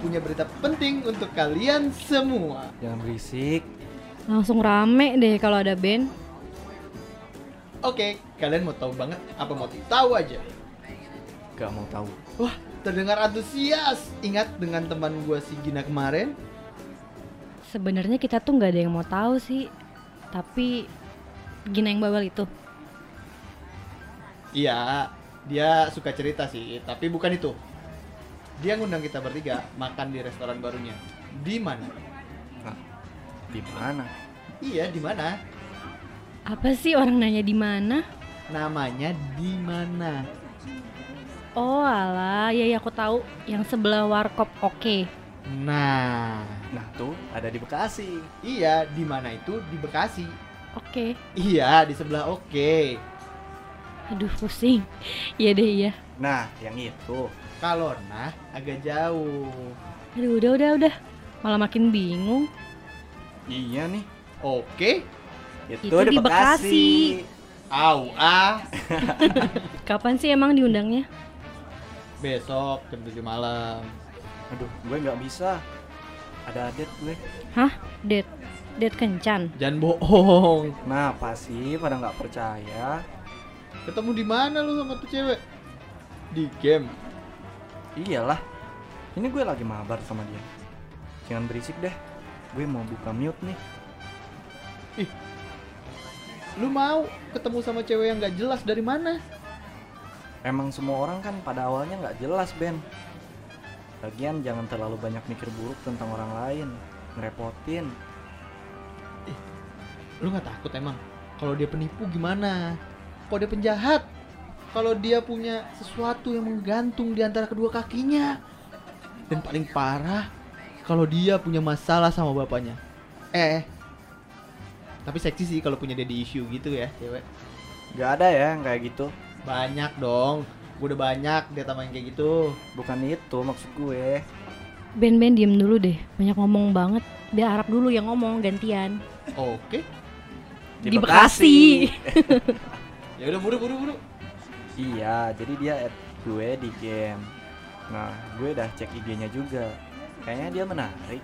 punya berita penting untuk kalian semua. Jangan berisik. Langsung rame deh kalau ada band. Oke, kalian mau tahu banget apa mau tahu aja? Gak mau tahu. Wah, terdengar antusias. Ingat dengan teman gua si Gina kemarin? Sebenarnya kita tuh nggak ada yang mau tahu sih. Tapi Gina yang bawel itu. Iya, dia suka cerita sih, tapi bukan itu. Dia ngundang kita bertiga makan di restoran barunya. Di mana? Nah, di mana? Iya, di mana? Apa sih orang nanya di mana? Namanya di mana? Oh alah, ya ya aku tahu yang sebelah warkop oke. Nah, Nah, tuh ada di Bekasi. iya, di mana itu? Di Bekasi. Oke. Iya, di sebelah Oke. Aduh pusing. Iya deh iya. Nah, yang itu. Kalau nah agak jauh. Aduh udah udah udah. Malah makin bingung. Iya nih. Oke, Itu, Itu di, di Bekasi. au ah. Kapan sih emang diundangnya? Besok jam 7 malam. Aduh, gue nggak bisa. Ada adet gue. Hah? Date date kencan. Jangan bohong. Kenapa Nah, sih pada nggak percaya? Ketemu di mana lu sama tuh cewek? Di game. Iyalah. Ini gue lagi mabar sama dia. Jangan berisik deh. Gue mau buka mute nih. Lu mau ketemu sama cewek yang gak jelas dari mana? Emang semua orang kan pada awalnya nggak jelas, Ben. Lagian jangan terlalu banyak mikir buruk tentang orang lain. Ngerepotin. Lu gak takut emang? Kalau dia penipu gimana? Kalau dia penjahat? Kalau dia punya sesuatu yang menggantung di antara kedua kakinya? Dan paling parah, kalau dia punya masalah sama bapaknya. Eh, tapi seksi sih kalau punya daddy issue gitu ya, cewek. Gak ada ya yang kayak gitu. Banyak dong. Gue udah banyak dia tambahin kayak gitu. Bukan itu maksud gue. Ben-ben diem dulu deh. Banyak ngomong banget. Biar Arab dulu yang ngomong gantian. Oke. Di Bekasi. Ya udah buru buru buru. Iya, jadi dia add gue di game. Nah, gue udah cek IG-nya juga. Kayaknya dia menarik.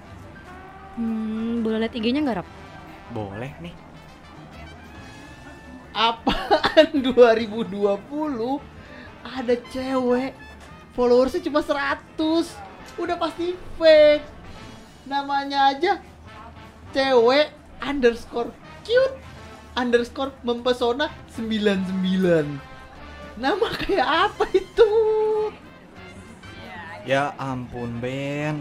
Hmm, boleh liat IG-nya nggak Arab? Boleh nih. Apaan 2020 ada cewek followersnya cuma 100. Udah pasti fake. Namanya aja cewek underscore cute underscore mempesona 99. Nama kayak apa itu? Ya ampun, Ben.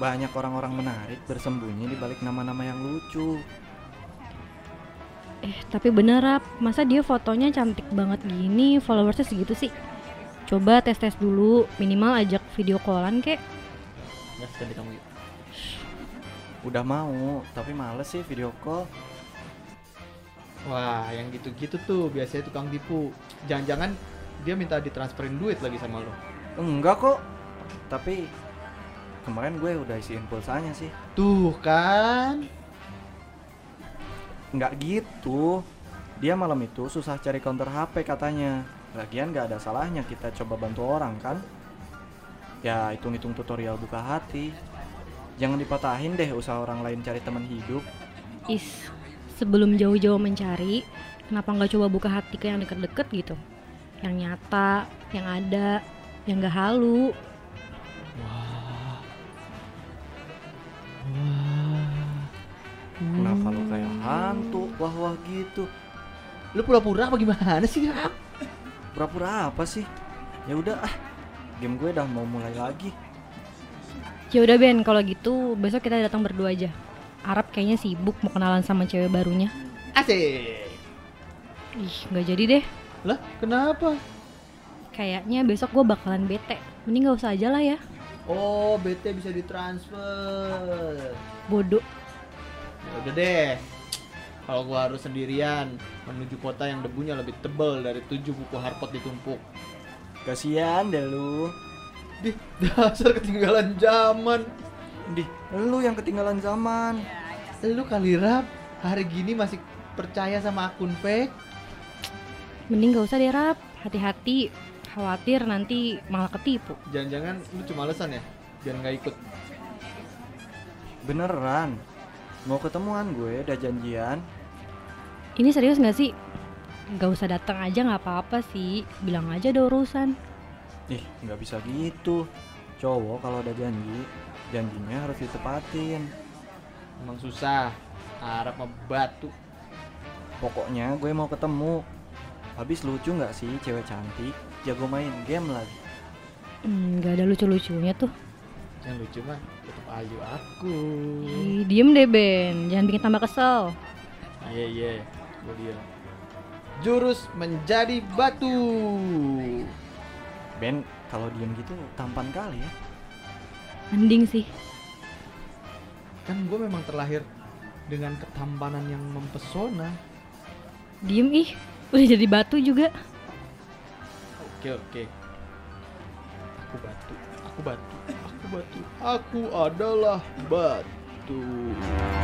Banyak orang-orang menarik bersembunyi di balik nama-nama yang lucu. Eh, tapi bener Rap, masa dia fotonya cantik banget gini, followersnya segitu sih? Coba tes-tes dulu, minimal ajak video callan kek. Nggak suka deh kamu gitu. Udah mau, tapi males sih video call. Wah, yang gitu-gitu tuh biasanya tukang tipu. Jangan-jangan dia minta ditransferin duit lagi sama lo. Enggak kok. Tapi kemarin gue udah isiin pulsanya sih. Tuh kan. Enggak gitu. Dia malam itu susah cari counter HP katanya. Lagian nggak ada salahnya kita coba bantu orang kan? Ya hitung-hitung tutorial buka hati. Jangan dipatahin deh usaha orang lain cari teman hidup. Is, sebelum jauh-jauh mencari, kenapa nggak coba buka hati ke yang deket-deket gitu? Yang nyata, yang ada, yang nggak halu. Kenapa lu kayak hantu? Wah wah gitu. Lu pura-pura apa gimana sih? Kak? Pura-pura apa sih? Ya udah ah. Game gue udah mau mulai lagi. Ya udah Ben, kalau gitu besok kita datang berdua aja. Arab kayaknya sibuk mau kenalan sama cewek barunya. Asik. Ih, nggak jadi deh. Lah, kenapa? Kayaknya besok gue bakalan bete. Mending nggak usah aja lah ya. Oh, BT bisa ditransfer. Bodoh. Ya udah deh. Kalau gua harus sendirian menuju kota yang debunya lebih tebel dari tujuh buku Harpot ditumpuk. Kasian deh lu. Dih, dasar ketinggalan zaman. Dih, lu yang ketinggalan zaman. Lu kali rap hari gini masih percaya sama akun fake? Mending gak usah deh Rap, hati-hati Khawatir nanti malah ketipu Jangan-jangan lu cuma alasan ya? dan nggak ikut. Beneran. Mau ketemuan gue, udah janjian. Ini serius nggak sih? Gak usah datang aja nggak apa-apa sih. Bilang aja ada urusan. Ih, nggak bisa gitu. Cowok kalau ada janji, janjinya harus ditepatin. Emang susah. Harap ngebatu. Pokoknya gue mau ketemu. Habis lucu nggak sih cewek cantik, jago main game lagi. Hmm, gak ada lucu-lucunya tuh. Yang lucu mah tetap ayu aku. Ih, diem deh Ben, jangan bikin tambah kesel. Iya iya. Gue diam. Jurus menjadi batu. Ben, kalau diem gitu tampan kali ya. Mending sih. Kan gue memang terlahir dengan ketampanan yang mempesona. Diem ih, udah jadi batu juga. Oke oke. Aku batu. Aku batu. Aku batu. Aku adalah batu.